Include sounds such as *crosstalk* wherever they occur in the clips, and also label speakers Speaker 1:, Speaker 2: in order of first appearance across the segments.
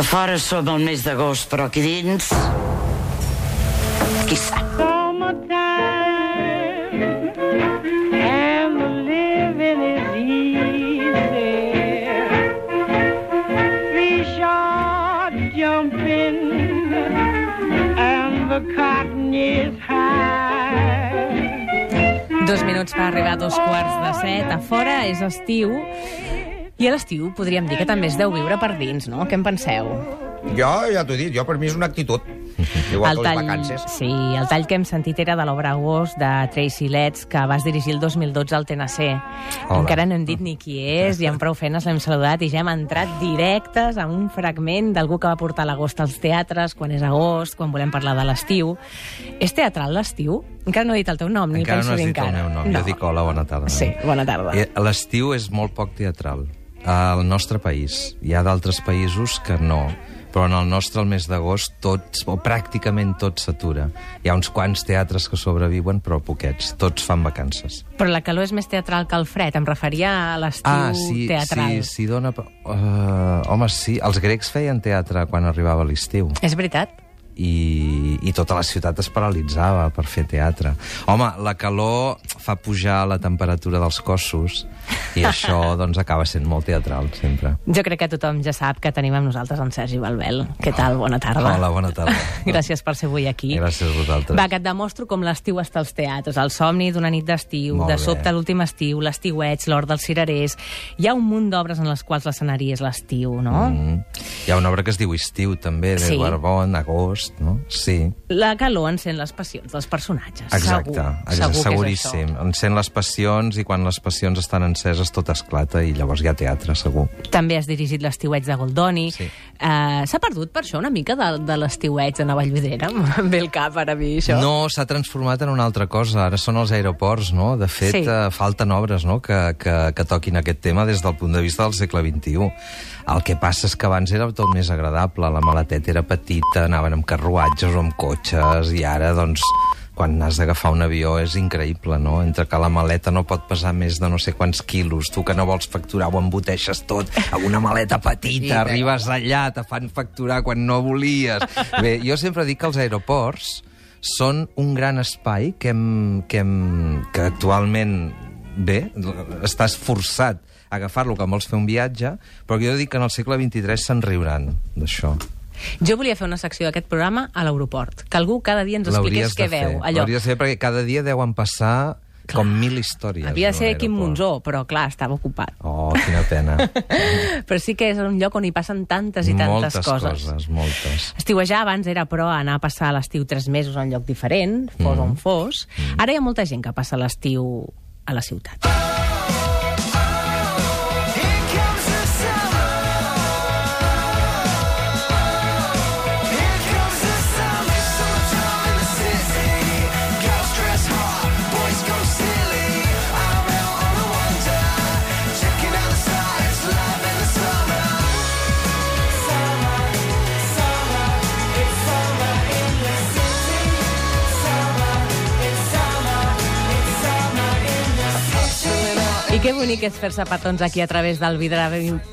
Speaker 1: fora som al mes d'agost, però aquí dins... Qui sap?
Speaker 2: Summertime and living is easy. Fish are jumping and the cotton is high.
Speaker 3: Dos minuts per arribar a dos quarts de set. A fora és estiu. I a l'estiu podríem dir que també es deu viure per dins, no? Què en penseu?
Speaker 4: Jo ja t'ho he dit, jo per mi és una actitud. Igual que les vacances.
Speaker 3: sí, el tall que hem sentit era de l'obra Agost de Tracy Letts, que vas dirigir el 2012 al TNC.
Speaker 4: Hola.
Speaker 3: Encara no hem dit ni qui és, i amb prou feines l'hem saludat i ja hem entrat directes a un fragment d'algú que va portar l'agost als teatres, quan és agost, quan volem parlar de l'estiu. És teatral l'estiu? Encara no he dit el teu nom, ni
Speaker 5: Encara
Speaker 3: penso
Speaker 5: no has
Speaker 3: dir
Speaker 5: dit
Speaker 3: encara.
Speaker 5: el meu nom. No. Jo dic hola, bona tarda.
Speaker 3: Sí, bona tarda.
Speaker 5: Eh, L'estiu és molt poc teatral. Al nostre país. Hi ha d'altres països que no. Però en el nostre, el mes d'agost, tots, o pràcticament tot s'atura. Hi ha uns quants teatres que sobreviuen, però poquets. Tots fan vacances.
Speaker 3: Però la calor és més teatral que el fred. Em referia a l'estiu
Speaker 5: Ah, sí,
Speaker 3: teatral.
Speaker 5: sí, sí, dona... Uh, home, sí, els grecs feien teatre quan arribava l'estiu.
Speaker 3: És veritat?
Speaker 5: i, i tota la ciutat es paralitzava per fer teatre. Home, la calor fa pujar la temperatura dels cossos
Speaker 3: *laughs*
Speaker 5: i això doncs, acaba sent molt teatral sempre.
Speaker 3: Jo crec que tothom ja sap que tenim amb nosaltres en Sergi Balbel. Què tal? Bona tarda.
Speaker 5: Hola, bona tarda.
Speaker 3: *laughs* Gràcies per ser avui aquí.
Speaker 5: Gràcies a vosaltres.
Speaker 3: Va, que et demostro com l'estiu està als teatres. El somni d'una nit d'estiu,
Speaker 5: Molt
Speaker 3: de
Speaker 5: bé.
Speaker 3: sobte l'últim estiu, l'estiuets, l'hort dels cirerers... Hi ha un munt d'obres en les quals l'escenari és l'estiu, no? Mm.
Speaker 5: Mm. Hi ha una obra que es diu Estiu, també, de
Speaker 3: Sí.
Speaker 5: Barbon, agost, no? Sí.
Speaker 3: La calor encén les passions dels personatges.
Speaker 5: Exacte,
Speaker 3: segur,
Speaker 5: exacte
Speaker 3: segur Que és
Speaker 5: seguríssim.
Speaker 3: això.
Speaker 5: Encén les passions i quan les passions estan enceses tot esclata i llavors hi ha teatre, segur.
Speaker 3: També has dirigit l'estiuets de Goldoni.
Speaker 5: Sí.
Speaker 3: Eh, S'ha perdut, per això, una mica de, de l'estiuets de Nova Llodera? *laughs* Em ve el cap ara a mi, això.
Speaker 5: No, s'ha transformat en una altra cosa. Ara són els aeroports, no? De fet,
Speaker 3: Sí.
Speaker 5: sí. eh, falten obres no? que, que, que toquin aquest tema des del punt de vista del segle XXI. El que passa és que abans era tot més agradable. La maleteta era petita, anaven amb carruatges o amb cotxes, i ara, doncs, quan has d'agafar un avió és increïble, no? Entre que la maleta no pot pesar més de no sé quants quilos, tu que no vols facturar ho emboteixes tot amb una maleta
Speaker 3: *laughs*
Speaker 5: petita, arribes allà, te fan facturar quan no volies. Bé, jo sempre dic que els aeroports són un gran espai que, hem, que, hem, que actualment, bé, estàs forçat a agafar-lo quan vols fer un viatge, però jo dic que en el segle XXIII se'n riuran d'això.
Speaker 3: Jo volia fer una secció d'aquest programa a l'aeroport. Que algú cada dia ens expliqués què
Speaker 5: de fer.
Speaker 3: veu. Allò.
Speaker 5: L'hauries de fer perquè cada dia deuen passar Clar. com mil històries.
Speaker 3: Havia de
Speaker 5: en
Speaker 3: ser
Speaker 5: un
Speaker 3: Quim
Speaker 5: aeroport.
Speaker 3: Monzó, però clar, estava ocupat. *laughs*
Speaker 5: Oh, quina pena.
Speaker 3: Però sí que és un lloc on hi passen tantes i tantes
Speaker 5: moltes
Speaker 3: coses.
Speaker 5: coses, moltes.
Speaker 3: Estiuejar abans era, però, anar a passar l'estiu tres mesos a un lloc diferent, fos mm. on fos. Ara hi ha molta gent que passa l'estiu a la ciutat. I que bonic és fer-se petons aquí a través del vidre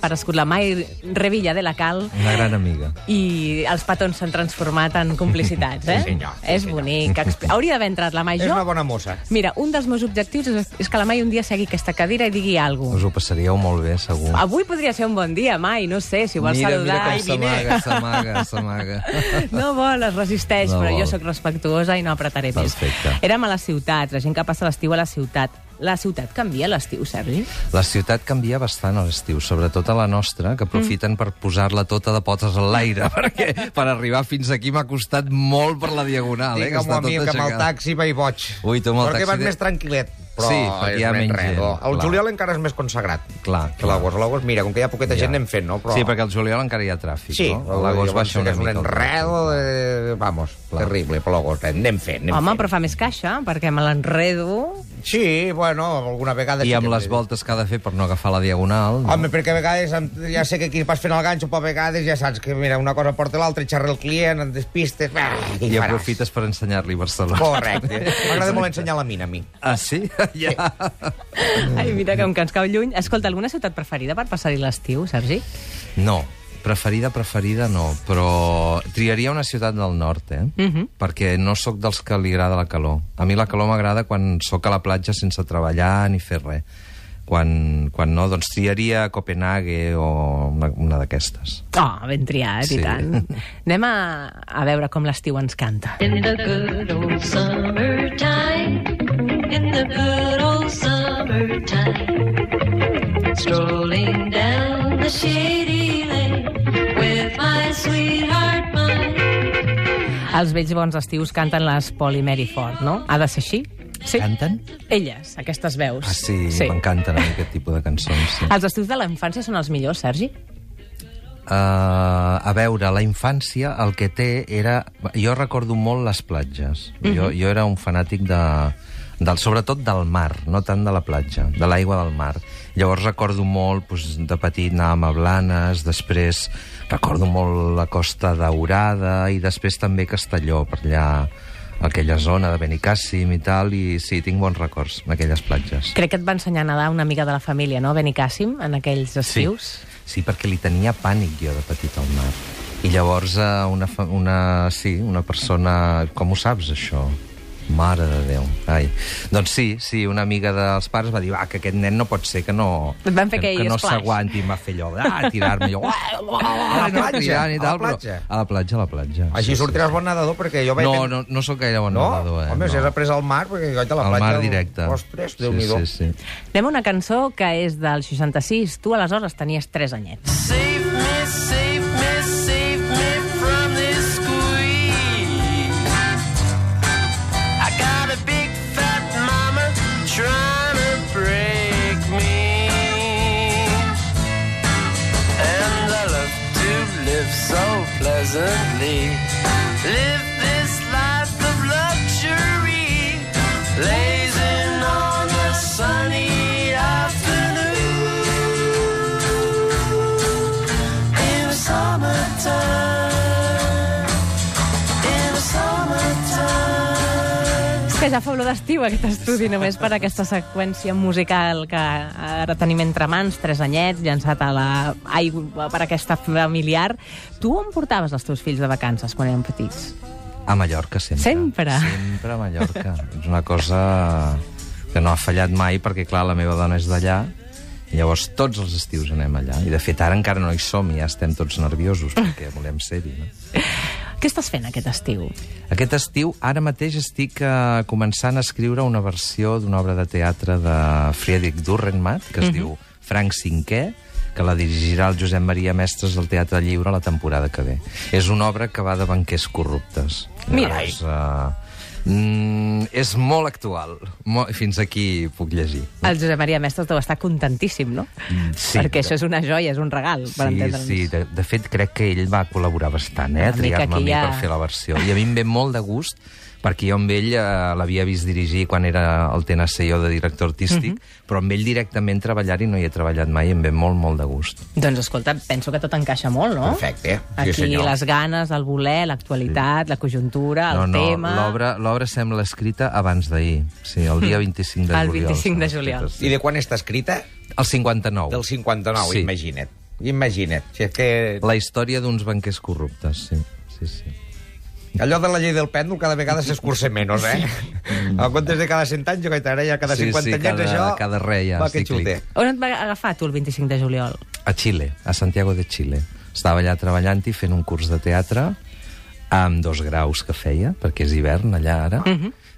Speaker 3: per escut la mà i Revilla de la Cal.
Speaker 5: Una gran amiga.
Speaker 3: I els petons s'han transformat en complicitats, eh?
Speaker 4: Sí, senyor, sí,
Speaker 3: és
Speaker 4: senyor.
Speaker 3: bonic. Expli- Hauria d'haver entrat la Mai.
Speaker 4: És
Speaker 3: Jo-
Speaker 4: una bona mossa.
Speaker 3: Mira, un dels meus objectius és, és que la Mai un dia segui aquesta cadira i digui alguna
Speaker 5: Us
Speaker 3: cosa.
Speaker 5: ho passaríeu molt bé, segur.
Speaker 3: Avui podria ser un bon dia, Mai, no sé, si vols
Speaker 5: mira,
Speaker 3: saludar...
Speaker 5: mira com s'amaga, s'amaga,
Speaker 3: *laughs*
Speaker 5: s'amaga.
Speaker 3: No vol, es resisteix,
Speaker 5: No
Speaker 3: però
Speaker 5: vol.
Speaker 3: jo sóc respectuosa i no apretaré més.
Speaker 5: Perfecte.
Speaker 3: Érem a les ciutats, la gent que passa l'estiu a la ciutat. La ciutat canvia a l'estiu, Sergi?
Speaker 5: La ciutat canvia bastant a l'estiu, sobretot a la nostra, que aprofiten mm. per posar-la tota de potes en l'aire, *laughs* perquè per arribar fins aquí m'ha costat molt per la diagonal, eh, que
Speaker 4: Digue-m'ho
Speaker 5: està
Speaker 4: a mi,
Speaker 5: tot
Speaker 4: que amb el
Speaker 5: aixecada.
Speaker 4: taxi vaig boig.
Speaker 5: Ui, tu amb el
Speaker 4: Perquè
Speaker 5: taxi
Speaker 4: vas
Speaker 5: de-
Speaker 4: més tranquil·let. Però
Speaker 5: Sí, perquè
Speaker 4: és
Speaker 5: hi ha
Speaker 4: més
Speaker 5: menys gent,
Speaker 4: redó. El
Speaker 5: clar.
Speaker 4: juliol encara és més consagrat.
Speaker 5: Clar,
Speaker 4: Que l'agost. L'agost, mira, com que hi ha poqueta gent, anem fent, no?
Speaker 5: Però... Sí, perquè al juliol encara hi ha tràfic,
Speaker 4: Sí,
Speaker 5: no? L'agost
Speaker 4: llavors
Speaker 5: baixa una
Speaker 4: és
Speaker 5: mica. el
Speaker 4: un enredo, eh, vamos,
Speaker 5: Clar.
Speaker 4: terrible, però l'agost, eh, anem fent, anem
Speaker 3: Home,
Speaker 4: fent.
Speaker 3: però fa més caixa, perquè me l'enredo...
Speaker 4: Sí, bueno, alguna vegada...
Speaker 5: tràfic.
Speaker 4: sí
Speaker 5: I
Speaker 4: que-
Speaker 5: amb les voltes que ha de fer per no agafar la diagonal... No?
Speaker 4: Home, perquè a vegades, amb- ja sé que aquí vas fent el ganxo, però a vegades ja saps que, mira, una cosa porta l'altra, i xerra el client, et despistes... Ah, què
Speaker 5: I
Speaker 4: faràs?
Speaker 5: aprofites per ensenyar-li Barcelona.
Speaker 4: Correcte.
Speaker 5: *laughs*
Speaker 4: M'agrada molt ensenyar la mina, a mi.
Speaker 5: Ah, sí? Ja.
Speaker 3: Ai, mira, com que ens cau lluny. Escolta, alguna ciutat preferida per passar-hi l'estiu, Sergi?
Speaker 5: No, Preferida, preferida no, però triaria una ciutat del nord, eh?
Speaker 3: Mhm.
Speaker 5: Perquè no sóc dels que li agrada la calor. A mi la calor m'agrada quan sóc a la platja sense treballar ni fer res. Quan, quan no, doncs triaria Copenhague o una, una d'aquestes.
Speaker 3: Oh, ben triat, sí. i
Speaker 5: Sí.
Speaker 3: tant. Anem a, a veure com l'estiu ens canta.
Speaker 6: In the good old summertime, in the good old summertime, strolling down the shady lane with my sweetheart mine.
Speaker 3: Els vells bons estius canten les Polly Mary Ford, no? Ha de ser així? Sí.
Speaker 5: Canten?
Speaker 3: Elles, aquestes veus.
Speaker 5: Ah, sí, sí. m'encanten a mi aquest tipus de cançons. Sí.
Speaker 3: Els estius de la infància són els millors, Sergi?
Speaker 5: Uh, a veure, la infància el que té era... Jo recordo molt les platges. Mm -hmm. jo, jo era un fanàtic de, del, sobretot del mar, no tant de la platja, de l'aigua del mar. Llavors recordo molt, doncs, de petit anàvem a Blanes, després recordo molt la Costa Daurada i després també Castelló, per allà aquella zona de Benicàssim i tal, i sí, tinc bons records d'aquelles platges.
Speaker 3: Crec que et va ensenyar a nedar una amiga de la família, no? Benicàssim, en aquells estius.
Speaker 5: Sí, perquè li tenia pànic jo de petit al mar. I llavors eh, una, fa- una, sí, una persona... Com ho saps, això? Mare de Déu. Ai. Doncs sí, sí, una amiga dels pares va dir va, que aquest nen no pot ser que no...
Speaker 3: Et van fer
Speaker 5: que,
Speaker 3: aquell
Speaker 5: que no
Speaker 3: splash.
Speaker 5: s'aguanti. Em va fer allò, ah, tirar-me jo... Ah,
Speaker 4: *laughs* A la platja,
Speaker 5: tirant i
Speaker 4: a la
Speaker 5: tal, però-
Speaker 4: platja.
Speaker 5: A la platja, a la platja. sí,
Speaker 4: Així sortiràs bon nedador, perquè jo
Speaker 5: Sí.
Speaker 4: vaig...
Speaker 5: No, no, no sóc gaire bon
Speaker 4: No?
Speaker 5: nedador, eh?
Speaker 4: Home,
Speaker 5: no.
Speaker 4: si has après al mar, perquè goita a la
Speaker 5: Al
Speaker 4: platja...
Speaker 5: mar directe.
Speaker 4: Ostres, Déu-n'hi-do.
Speaker 5: Sí, sí, sí.
Speaker 3: Anem a una cançó que és del 66. Tu aleshores tenies 3 anyets.
Speaker 7: Save me, save me, save me from this squeeze. I got a big fat mama trying to break me. And I love to live so pleasantly. Live this life of luxury, blazing on a sunny afternoon in the summertime. In the summertime.
Speaker 3: És que ja fa olor d'estiu aquest estudi, només per aquesta seqüència musical que ara tenim entre mans, 3 anyets, llançat a la aigua per aquesta familiar. Tu on portaves els teus fills de vacances quan eren petits?
Speaker 5: A Mallorca, sempre.
Speaker 3: Sempre?
Speaker 5: Sempre a Mallorca. és una cosa que no ha fallat mai, perquè, clar, la meva dona és d'allà, i llavors tots els estius anem allà. I, de fet, ara encara no hi som i ja estem tots nerviosos, perquè volem ser-hi, no?
Speaker 3: Què estàs fent aquest estiu?
Speaker 5: Aquest estiu, ara mateix, estic eh, començant a escriure una versió d'una obra de teatre de Friedrich Dürrenmatt, que es diu Frank Cinquè, que la dirigirà el Josep Maria Mestres al Teatre Lliure la temporada que ve. És una obra que va de banquers corruptes.
Speaker 3: Mira.
Speaker 5: Llavors, eh, mm, és molt actual. Mo fins aquí puc llegir.
Speaker 3: El Josep Maria Mestres deu estar contentíssim, no?
Speaker 5: Mm, sí,
Speaker 3: Perquè
Speaker 5: de-
Speaker 3: això és una joia, és un regal, per
Speaker 5: Sí,
Speaker 3: entendre'ns.
Speaker 5: sí, de, de fet crec que ell va col·laborar bastant, eh,
Speaker 3: Una
Speaker 5: a triar-me
Speaker 3: mica
Speaker 5: a
Speaker 3: aquí
Speaker 5: mi
Speaker 3: ja-
Speaker 5: per fer la versió. I a mi em ve molt de gust, perquè jo amb ell eh, l'havia vist dirigir quan era el TNC jo de director artístic,
Speaker 3: Mhm.
Speaker 5: però amb ell directament treballar i no hi he treballat mai, i em ve molt, molt de gust.
Speaker 3: Doncs escolta, penso que tot encaixa molt, no?
Speaker 4: Perfecte. eh?
Speaker 3: Aquí
Speaker 4: sí, senyor.
Speaker 3: les ganes, el voler, l'actualitat, sí. la conjuntura, el
Speaker 5: no, no,
Speaker 3: tema...
Speaker 5: l'obra- l'obra sembla escrita abans d'ahir, sí, el
Speaker 3: *laughs*
Speaker 5: dia 25 de
Speaker 3: El
Speaker 5: juliol.
Speaker 3: 25 de
Speaker 5: sembla
Speaker 3: juliol.
Speaker 5: escrita,
Speaker 4: I de quan està escrita?
Speaker 5: sí. El 59.
Speaker 4: Del 59,
Speaker 5: Sí.
Speaker 4: imagina't. Imagina't. Si és que...
Speaker 5: La història d'uns banquers corruptes, sí. sí, sí.
Speaker 4: Allò de la llei del pèndol cada vegada s'escurça menys, eh? *laughs* En comptes de cada 100 anys, jo gaire, ara ja cada
Speaker 5: Sí,
Speaker 4: 50
Speaker 5: sí,
Speaker 4: anys
Speaker 5: cada-
Speaker 4: això...
Speaker 5: cada re ja,
Speaker 4: Va, que
Speaker 5: cíclic.
Speaker 4: xuter.
Speaker 3: On et va agafar tu el 25 de juliol?
Speaker 5: A Xile, a Santiago de Xile. Estava allà treballant-hi fent un curs de teatre amb dos graus que feia, perquè és hivern allà ara,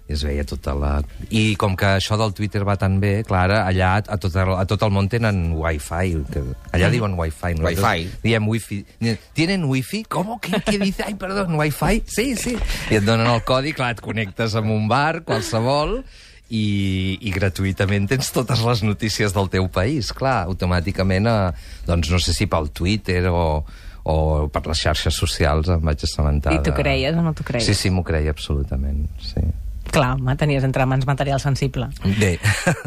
Speaker 5: i es veia tota la... I com que això del Twitter va tan bé, clar, ara allà a tot el, a tot el món tenen wifi. Que allà diuen wifi. nosaltres
Speaker 4: Wifi.
Speaker 5: Diem wifi. Tienen wifi? Com? Què, què dice? Ai, perdó, wifi? Sí, sí. I et donen el codi, clar, et connectes amb un bar, qualsevol, i, i gratuïtament tens totes les notícies del teu país, clar, automàticament, eh, doncs no sé si pel Twitter o, o per les xarxes socials em vaig assabentar.
Speaker 3: I t'ho
Speaker 5: de-
Speaker 3: creies o no t'ho creies?
Speaker 5: Sí, sí, m'ho creia absolutament, sí.
Speaker 3: Clar, home, tenies entre mans material sensible.
Speaker 5: Bé,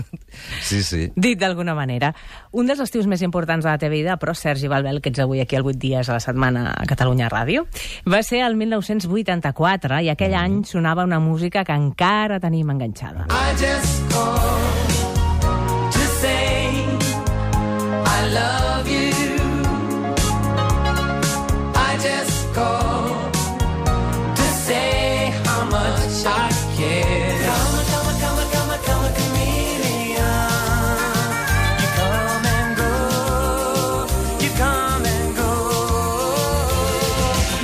Speaker 5: *laughs* sí, sí.
Speaker 3: Dit d'alguna manera, un dels estius més importants de la teva vida, però Sergi Balbel, que ets avui aquí al 8 dies a la setmana a Catalunya Ràdio, va ser el 1984 i aquell mm. any sonava una música que encara tenim enganxada.
Speaker 7: I just called to say I love you.
Speaker 8: difficult to say how much I care. Come, come, come, come, come, chameleon. You come and go, you come and go.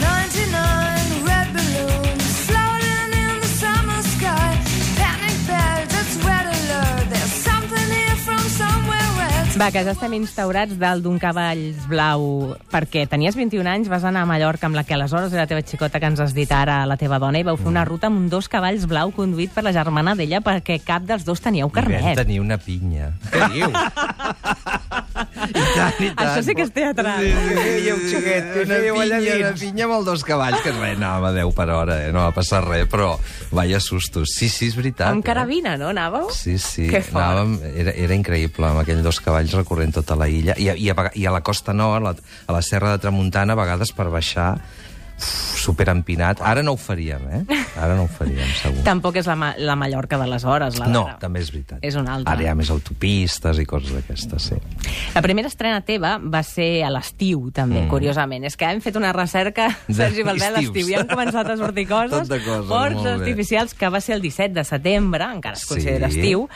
Speaker 8: 99 red balloons floating in the summer sky. Panic bells, it's red alert. There's something here from somewhere else.
Speaker 3: Va, que ja estem instaurats dalt d'un cavalls blau, perquè tenies 21 anys, vas anar a Mallorca amb la que aleshores era la teva xicota que ens has dit ara, la teva dona, i vau fer
Speaker 5: Mm.
Speaker 3: una ruta amb dos cavalls blau conduït per la germana d'ella perquè cap dels dos teníeu
Speaker 5: I vam
Speaker 3: carnet.
Speaker 5: tenir una pinya.
Speaker 4: Què diu?
Speaker 5: I tant, i tant.
Speaker 3: Això sí que és teatral.
Speaker 5: Sí, sí, *laughs* sí,
Speaker 4: Fèieu, xiquet, que
Speaker 5: una
Speaker 4: fèieu allà
Speaker 5: pinya,
Speaker 4: dins.
Speaker 5: una pinya amb els dos cavalls, que res, anava a 10 per hora, eh? no va passar res, però vaja sustos. Sí, sí, és veritat. eh?
Speaker 3: Amb carabina, no, anàveu?
Speaker 5: Ah, Sí, sí.
Speaker 3: Que fort.
Speaker 5: Anàvem, era, era increïble, amb aquells dos cavalls recorrent tota la illa. I, a- i, a, vega- i a la costa nord, a la, a la serra de Tramuntana, a vegades per baixar, uf, superempinat. Ara no ho faríem, eh? Ara no ho faríem, segur.
Speaker 3: Tampoc és la, ma la Mallorca d'aleshores, la
Speaker 5: no,
Speaker 3: d'ara.
Speaker 5: també és veritat.
Speaker 3: És una altra.
Speaker 5: Ara hi ha més autopistes i coses d'aquestes, sí.
Speaker 3: La primera estrena teva va ser a l'estiu, també, mm. curiosament. És que hem fet una recerca,
Speaker 5: De
Speaker 3: Sergi Valbé, a l'estiu,
Speaker 5: estius.
Speaker 3: i han començat a
Speaker 5: *laughs*
Speaker 3: sortir coses.
Speaker 5: Tot de coses,
Speaker 3: Ports
Speaker 5: molt bé.
Speaker 3: artificials, que va ser el 17 de setembre, encara es
Speaker 5: Sí.
Speaker 3: considera estiu,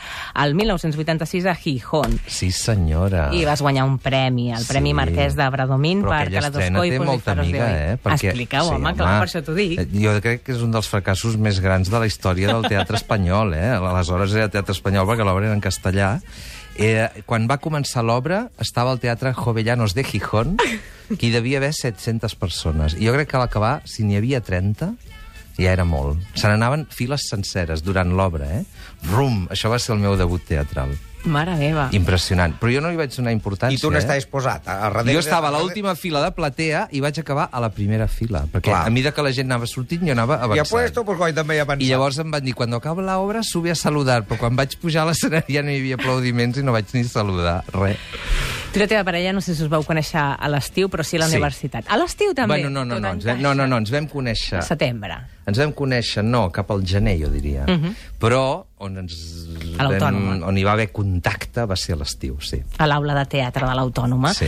Speaker 3: el 1986 a Gijón.
Speaker 5: Sí, senyora.
Speaker 3: I vas guanyar un premi, el Premi
Speaker 5: Ah. Sí.
Speaker 3: Marquès de Bradomín
Speaker 5: Però
Speaker 3: per
Speaker 5: aquella
Speaker 3: Caladoscoi.
Speaker 5: estrena té molta amiga, eh?
Speaker 3: Explica-ho, sí, home, clar, per això t'ho dic.
Speaker 5: Eh, Jo crec que és un dels fracassos més grans de la història del teatre espanyol, eh? Aleshores era teatre espanyol perquè l'obra era en castellà. Eh, quan va començar l'obra estava al Teatre Jovellanos de Gijón, que hi devia haver 700 persones. I jo crec que a l'acabar, si n'hi havia 30, ja era molt. Se n'anaven files senceres durant l'obra, eh? Rum, això va ser el meu debut teatral.
Speaker 3: Mare meva.
Speaker 5: Impressionant. Però jo no hi vaig donar importància.
Speaker 4: I tu n'estàs
Speaker 5: eh?
Speaker 4: posat. A, a darrere-
Speaker 5: Jo estava a l'última fila de platea i vaig acabar a la primera fila, perquè
Speaker 4: Clar.
Speaker 5: a mesura que la gent anava sortint jo anava
Speaker 4: I
Speaker 5: avançant.
Speaker 4: a puesto, pues coi, també hi ha pensat.
Speaker 5: I llavors em van dir, quan acaba l'obra, sube a saludar, però quan vaig pujar a l'escenari ja no hi havia aplaudiments i no vaig ni saludar, res.
Speaker 3: Tu i la teva parella, no sé si us vau conèixer a l'estiu, però sí a la
Speaker 5: Sí.
Speaker 3: universitat. A l'estiu també?
Speaker 5: Bueno, no, no,
Speaker 3: Tot
Speaker 5: no, ens,
Speaker 3: encaixa.
Speaker 5: vam- no, no, no, ens vam conèixer.
Speaker 3: A setembre.
Speaker 5: Ens vam conèixer, no, cap al gener, jo diria. Uh -huh. Però on ens
Speaker 3: Mhm. A l'Autònoma.
Speaker 5: on hi va haver contacte va ser a l'estiu, sí.
Speaker 3: a l'aula de teatre de l'Autònoma.
Speaker 5: Sí.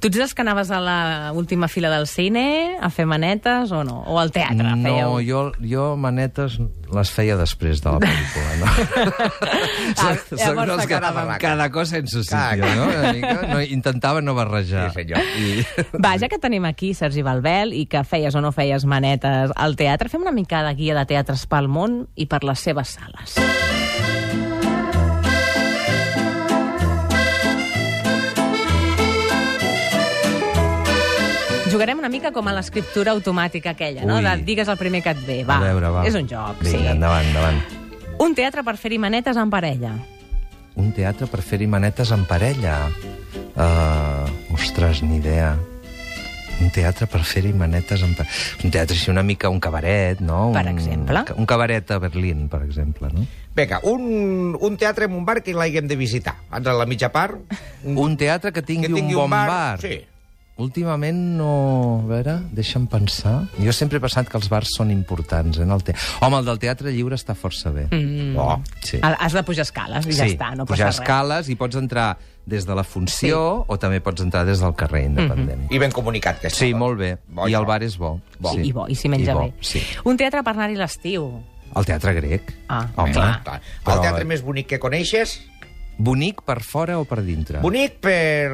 Speaker 3: Tu ets dels que anaves a la última fila del cine a fer manetes o no? O al teatre?
Speaker 5: No,
Speaker 3: fèieu...
Speaker 5: jo, jo manetes les feia després de la pel·lícula, no?
Speaker 3: *laughs* Ah,
Speaker 5: Soc- soc
Speaker 3: llavors
Speaker 5: dels que
Speaker 3: t'acabava.
Speaker 5: cada cosa en su
Speaker 4: Clar,
Speaker 5: sitio, no? Una mica. No, intentava no barrejar.
Speaker 4: Sí, senyor. I...
Speaker 3: Va, ja que tenim aquí Sergi Balbel i que feies o no feies manetes al teatre, fem una mica de guia de teatres pel món i per les seves sales. Jugarem una mica com a l'escriptura automàtica aquella, no?
Speaker 5: Ui.
Speaker 3: De digues el primer que et ve. Va,
Speaker 5: a veure, va.
Speaker 3: és un joc, sí.
Speaker 5: Vinga, endavant, endavant.
Speaker 3: Un teatre per fer-hi manetes en parella.
Speaker 5: Un teatre per fer-hi manetes en parella. Uh, ostres, ni idea. Un teatre per fer-hi manetes en parella. Un teatre així una mica, un cabaret, no? Un,
Speaker 3: Per exemple.
Speaker 5: Un cabaret a Berlín, per exemple, no?
Speaker 4: Vinga, un, un teatre amb un bar que l'haguem de visitar. Ens a la mitja part...
Speaker 5: Un teatre que tingui,
Speaker 4: Que tingui
Speaker 5: un bon
Speaker 4: un bar,
Speaker 5: bar.
Speaker 4: sí.
Speaker 5: Últimament no... A veure, deixa'm pensar. Jo sempre he pensat que els bars són importants. Eh, en el te... Home, el del teatre lliure està força bé. Mm. Oh, sí.
Speaker 3: Ha- Has de pujar escales i Ah, ja
Speaker 5: sí.
Speaker 3: està, no
Speaker 5: Pujar
Speaker 3: passa res.
Speaker 5: escales i pots entrar des de la funció sí. o també pots entrar des del carrer
Speaker 3: Mm-hmm.
Speaker 5: independent. Mm -hmm.
Speaker 4: I ben comunicat, aquesta.
Speaker 5: Sí,
Speaker 4: cosa.
Speaker 5: molt bé.
Speaker 4: Bo,
Speaker 5: I
Speaker 4: això.
Speaker 5: el bar és bo.
Speaker 4: Bo.
Speaker 5: Sí.
Speaker 3: I bo, i si menja
Speaker 5: I bo,
Speaker 3: bé.
Speaker 5: Sí.
Speaker 3: Un teatre per anar-hi l'estiu.
Speaker 5: El teatre grec.
Speaker 3: Ah,
Speaker 5: Home,
Speaker 3: clar.
Speaker 4: Clar.
Speaker 5: Però-
Speaker 4: El teatre més bonic que coneixes,
Speaker 5: Bonic per fora o per dintre?
Speaker 4: bonic per...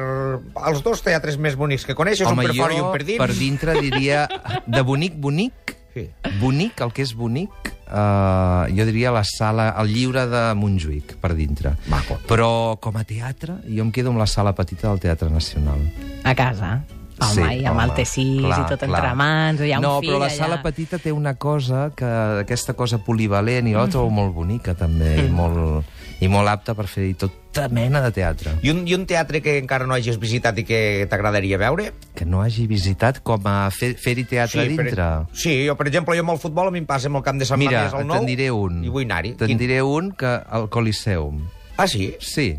Speaker 4: Els dos teatres més bonics que coneixes,
Speaker 5: Home,
Speaker 4: un per fora i
Speaker 5: jo
Speaker 4: un per dins.
Speaker 5: per dintre diria de bonic, bonic,
Speaker 4: Sí.
Speaker 5: bonic, el que és bonic, eh, jo diria la sala, el lliure de Montjuïc, per dintre.
Speaker 4: Maco.
Speaker 5: Però com a teatre, jo em quedo amb la sala petita del Teatre Nacional.
Speaker 3: A casa. Home, i amb el T6 i tot entre mans, hi ha un
Speaker 5: no,
Speaker 3: fill
Speaker 5: però la
Speaker 3: allà.
Speaker 5: sala petita té una cosa, que aquesta cosa polivalent, i jo la
Speaker 3: Mm.
Speaker 5: trobo molt bonica, també, i, molt, i molt apta per fer-hi tota mena de teatre.
Speaker 4: I un, I un teatre que encara no hagis visitat i que t'agradaria veure?
Speaker 5: Que no hagi visitat com a fer- fer-hi teatre a dintre.
Speaker 4: Per, sí, jo, per exemple, jo amb el futbol a mi em passa amb el camp de Sant
Speaker 5: Mira,
Speaker 4: Mamés al
Speaker 5: te'n
Speaker 4: 9.
Speaker 5: diré un.
Speaker 4: I vull anar-hi.
Speaker 5: Te'n diré un que al Coliseum.
Speaker 4: Ah, sí?
Speaker 5: Sí.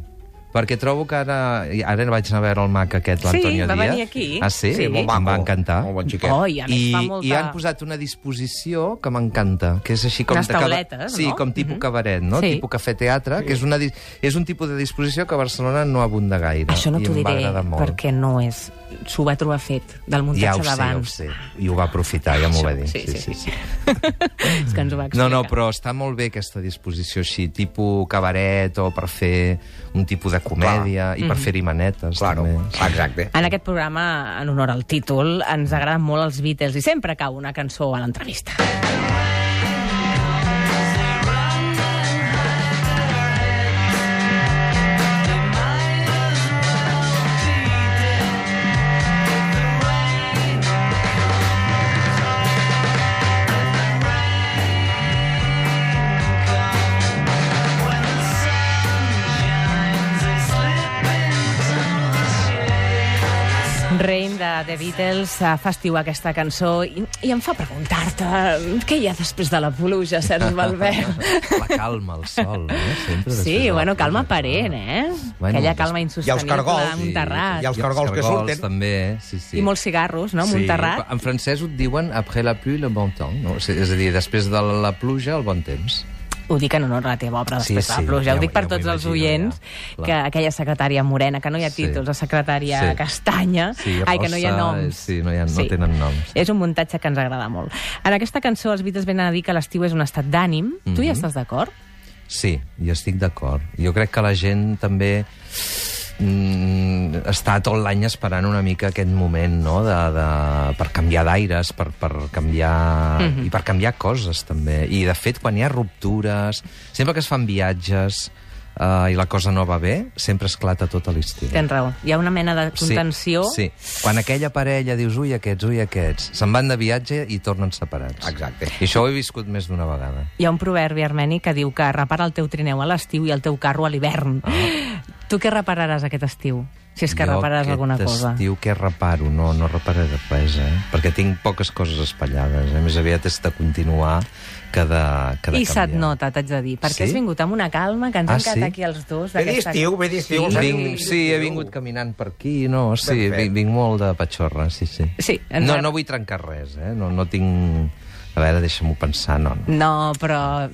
Speaker 5: Perquè trobo que ara... Ara vaig anar a veure el mac
Speaker 3: Sí,
Speaker 5: aquest, l'Antonio
Speaker 3: va
Speaker 5: Díaz.
Speaker 3: venir aquí.
Speaker 5: Ah, sí?
Speaker 3: Sí.
Speaker 5: Molt maco. Em va encantar.
Speaker 4: Molt bon xiquet.
Speaker 3: Oh, i a més
Speaker 5: I,
Speaker 3: fa molta...
Speaker 5: I han posat una disposició que m'encanta, que és així com...
Speaker 3: Unes
Speaker 5: de cava-
Speaker 3: tauletes,
Speaker 5: Sí,
Speaker 3: no? Mhm.
Speaker 5: com tipus cabaret, no?
Speaker 3: Sí.
Speaker 5: Tipus cafè-teatre, que és, una, dis- és un tipus de disposició que a Barcelona no abunda gaire.
Speaker 3: Això no
Speaker 5: I
Speaker 3: t'ho
Speaker 5: em va
Speaker 3: diré,
Speaker 5: agradar molt.
Speaker 3: perquè no és... S'ho va trobar fet, del
Speaker 5: Ja ho
Speaker 3: muntatge
Speaker 5: sé, ja ho
Speaker 3: d'abans.
Speaker 5: sé. I ho va aprofitar, ja m'ho va dir.
Speaker 3: Sí, sí, sí. és que ens ho va
Speaker 5: No,
Speaker 3: explicar.
Speaker 5: no, però està molt bé aquesta disposició així, tipus cabaret o per fer un tipus de comèdia i per fer-hi manetes,
Speaker 4: Claro,
Speaker 5: també.
Speaker 4: exacte.
Speaker 3: En aquest programa, en honor al títol, ens agraden molt els Beatles i sempre cau una cançó a l'entrevista. Rain de The Beatles eh, fa estiu aquesta cançó i, i em fa preguntar-te què hi ha després de la pluja, Sergi
Speaker 5: *laughs*
Speaker 3: Valverd?
Speaker 5: La calma, el sol, eh? Sempre després de
Speaker 3: Sí,
Speaker 5: la
Speaker 3: bueno,
Speaker 5: pluja.
Speaker 3: calma aparent, eh?
Speaker 5: Bueno,
Speaker 3: Bueno, Aquella calma
Speaker 4: hi ha els
Speaker 3: insostenible,
Speaker 4: cargols,
Speaker 3: un
Speaker 4: sí,
Speaker 3: terrat.
Speaker 4: hi ha els
Speaker 5: I
Speaker 4: cargols que surten.
Speaker 5: també, eh? sí, sí.
Speaker 3: I molts cigarros, no?
Speaker 5: Sí,
Speaker 3: Monterrat.
Speaker 5: En francès ho diuen après la pluie, le bon temps. No? O sigui, És a dir, després de la pluja, el bon temps.
Speaker 3: Ho dic en honor a la teva obra,
Speaker 5: Sí,
Speaker 3: després de
Speaker 5: sí,
Speaker 3: la pluja.
Speaker 5: ja
Speaker 3: ho
Speaker 5: ho-
Speaker 3: dic per
Speaker 5: ja ho
Speaker 3: tots els
Speaker 5: imagino,
Speaker 3: oients,
Speaker 5: ja, clar.
Speaker 3: que aquella secretària morena, que no hi ha
Speaker 5: Sí.
Speaker 3: títols, la secretària
Speaker 5: Sí.
Speaker 3: castanya,
Speaker 5: Sí,
Speaker 3: ai, que no hi ha
Speaker 5: rossa,
Speaker 3: noms.
Speaker 5: sí, no hi ha- no tenen noms.
Speaker 3: És un muntatge que ens agrada molt. En aquesta cançó els Beatles venen a dir que l'estiu és un estat d'ànim. Tu
Speaker 5: Mhm.
Speaker 3: hi estàs d'acord?
Speaker 5: Sí, jo estic d'acord. Jo crec que la gent també mm, està tot l'any esperant una mica aquest moment, no?, de, de, per canviar d'aires, per, per canviar... Mm -hmm. i per canviar coses, també. I, de fet, quan hi ha ruptures, sempre que es fan viatges eh, i la cosa no va bé, sempre esclata tot a l'estiu.
Speaker 3: Tens raó. Hi ha una mena de contenció.
Speaker 5: Sí, sí. Quan aquella parella dius, ui, aquests, ui, aquests, se'n van de viatge i tornen separats.
Speaker 4: Exacte.
Speaker 5: I això ho he viscut més d'una vegada.
Speaker 3: Hi ha un proverbi armeni que diu que repara el teu trineu a l'estiu i el teu carro a l'hivern. Tu què repararàs aquest estiu? Si és que
Speaker 5: Ah. jo
Speaker 3: repararàs
Speaker 5: aquest
Speaker 3: alguna cosa.
Speaker 5: estiu que reparo, no, no repararé res, eh? Perquè tinc poques coses espallades, eh? Més aviat és de continuar que de, que de
Speaker 3: I se't
Speaker 5: canviar.
Speaker 3: nota, t'haig de dir, perquè
Speaker 5: Sí?
Speaker 3: has vingut amb una calma que ens
Speaker 5: Ah,
Speaker 3: hem quedat
Speaker 5: sí?
Speaker 3: aquí els dos.
Speaker 4: Ve
Speaker 3: d'aquesta-
Speaker 4: d'estiu, ve d'estiu.
Speaker 3: Sí.
Speaker 5: Vinc, sí, he vingut caminant per aquí, no, sí,
Speaker 4: Perfecte.
Speaker 5: vinc, vinc molt de patxorra, sí, sí.
Speaker 3: Sí, ens
Speaker 5: No,
Speaker 3: agrada.
Speaker 5: no vull trencar res, eh? No, no tinc... A veure, deixa-m'ho pensar, no, no.
Speaker 3: No, però...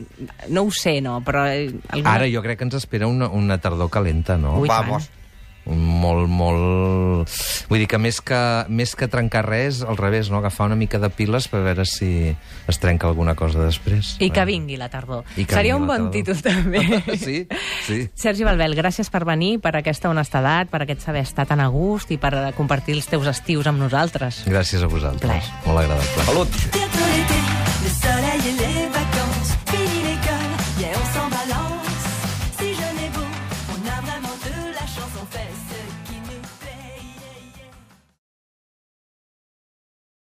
Speaker 3: No ho sé, no, però... eh, Alguna...
Speaker 5: Ara jo crec que ens espera una, una tardor calenta, no?
Speaker 3: Ui,
Speaker 4: Vamos.
Speaker 5: Molt, molt... Vull dir que més que, més que trencar res, al revés, no? agafar una mica de piles per veure si es trenca alguna cosa després.
Speaker 3: I que
Speaker 5: Eh?
Speaker 3: vingui la tardor.
Speaker 5: I que
Speaker 3: Seria
Speaker 5: vingui
Speaker 3: un
Speaker 5: la
Speaker 3: bon
Speaker 5: tardor.
Speaker 3: títol, també.
Speaker 5: *laughs* sí, sí.
Speaker 3: Sergi Balbel, gràcies per venir, per aquesta honestedat, per aquest saber estar tan a gust i per eh, compartir els teus estius amb nosaltres.
Speaker 5: Gràcies a vosaltres.
Speaker 3: Plaer.
Speaker 5: Molt agradable.
Speaker 4: Salut.
Speaker 8: Bientôt l'été, le soleil et les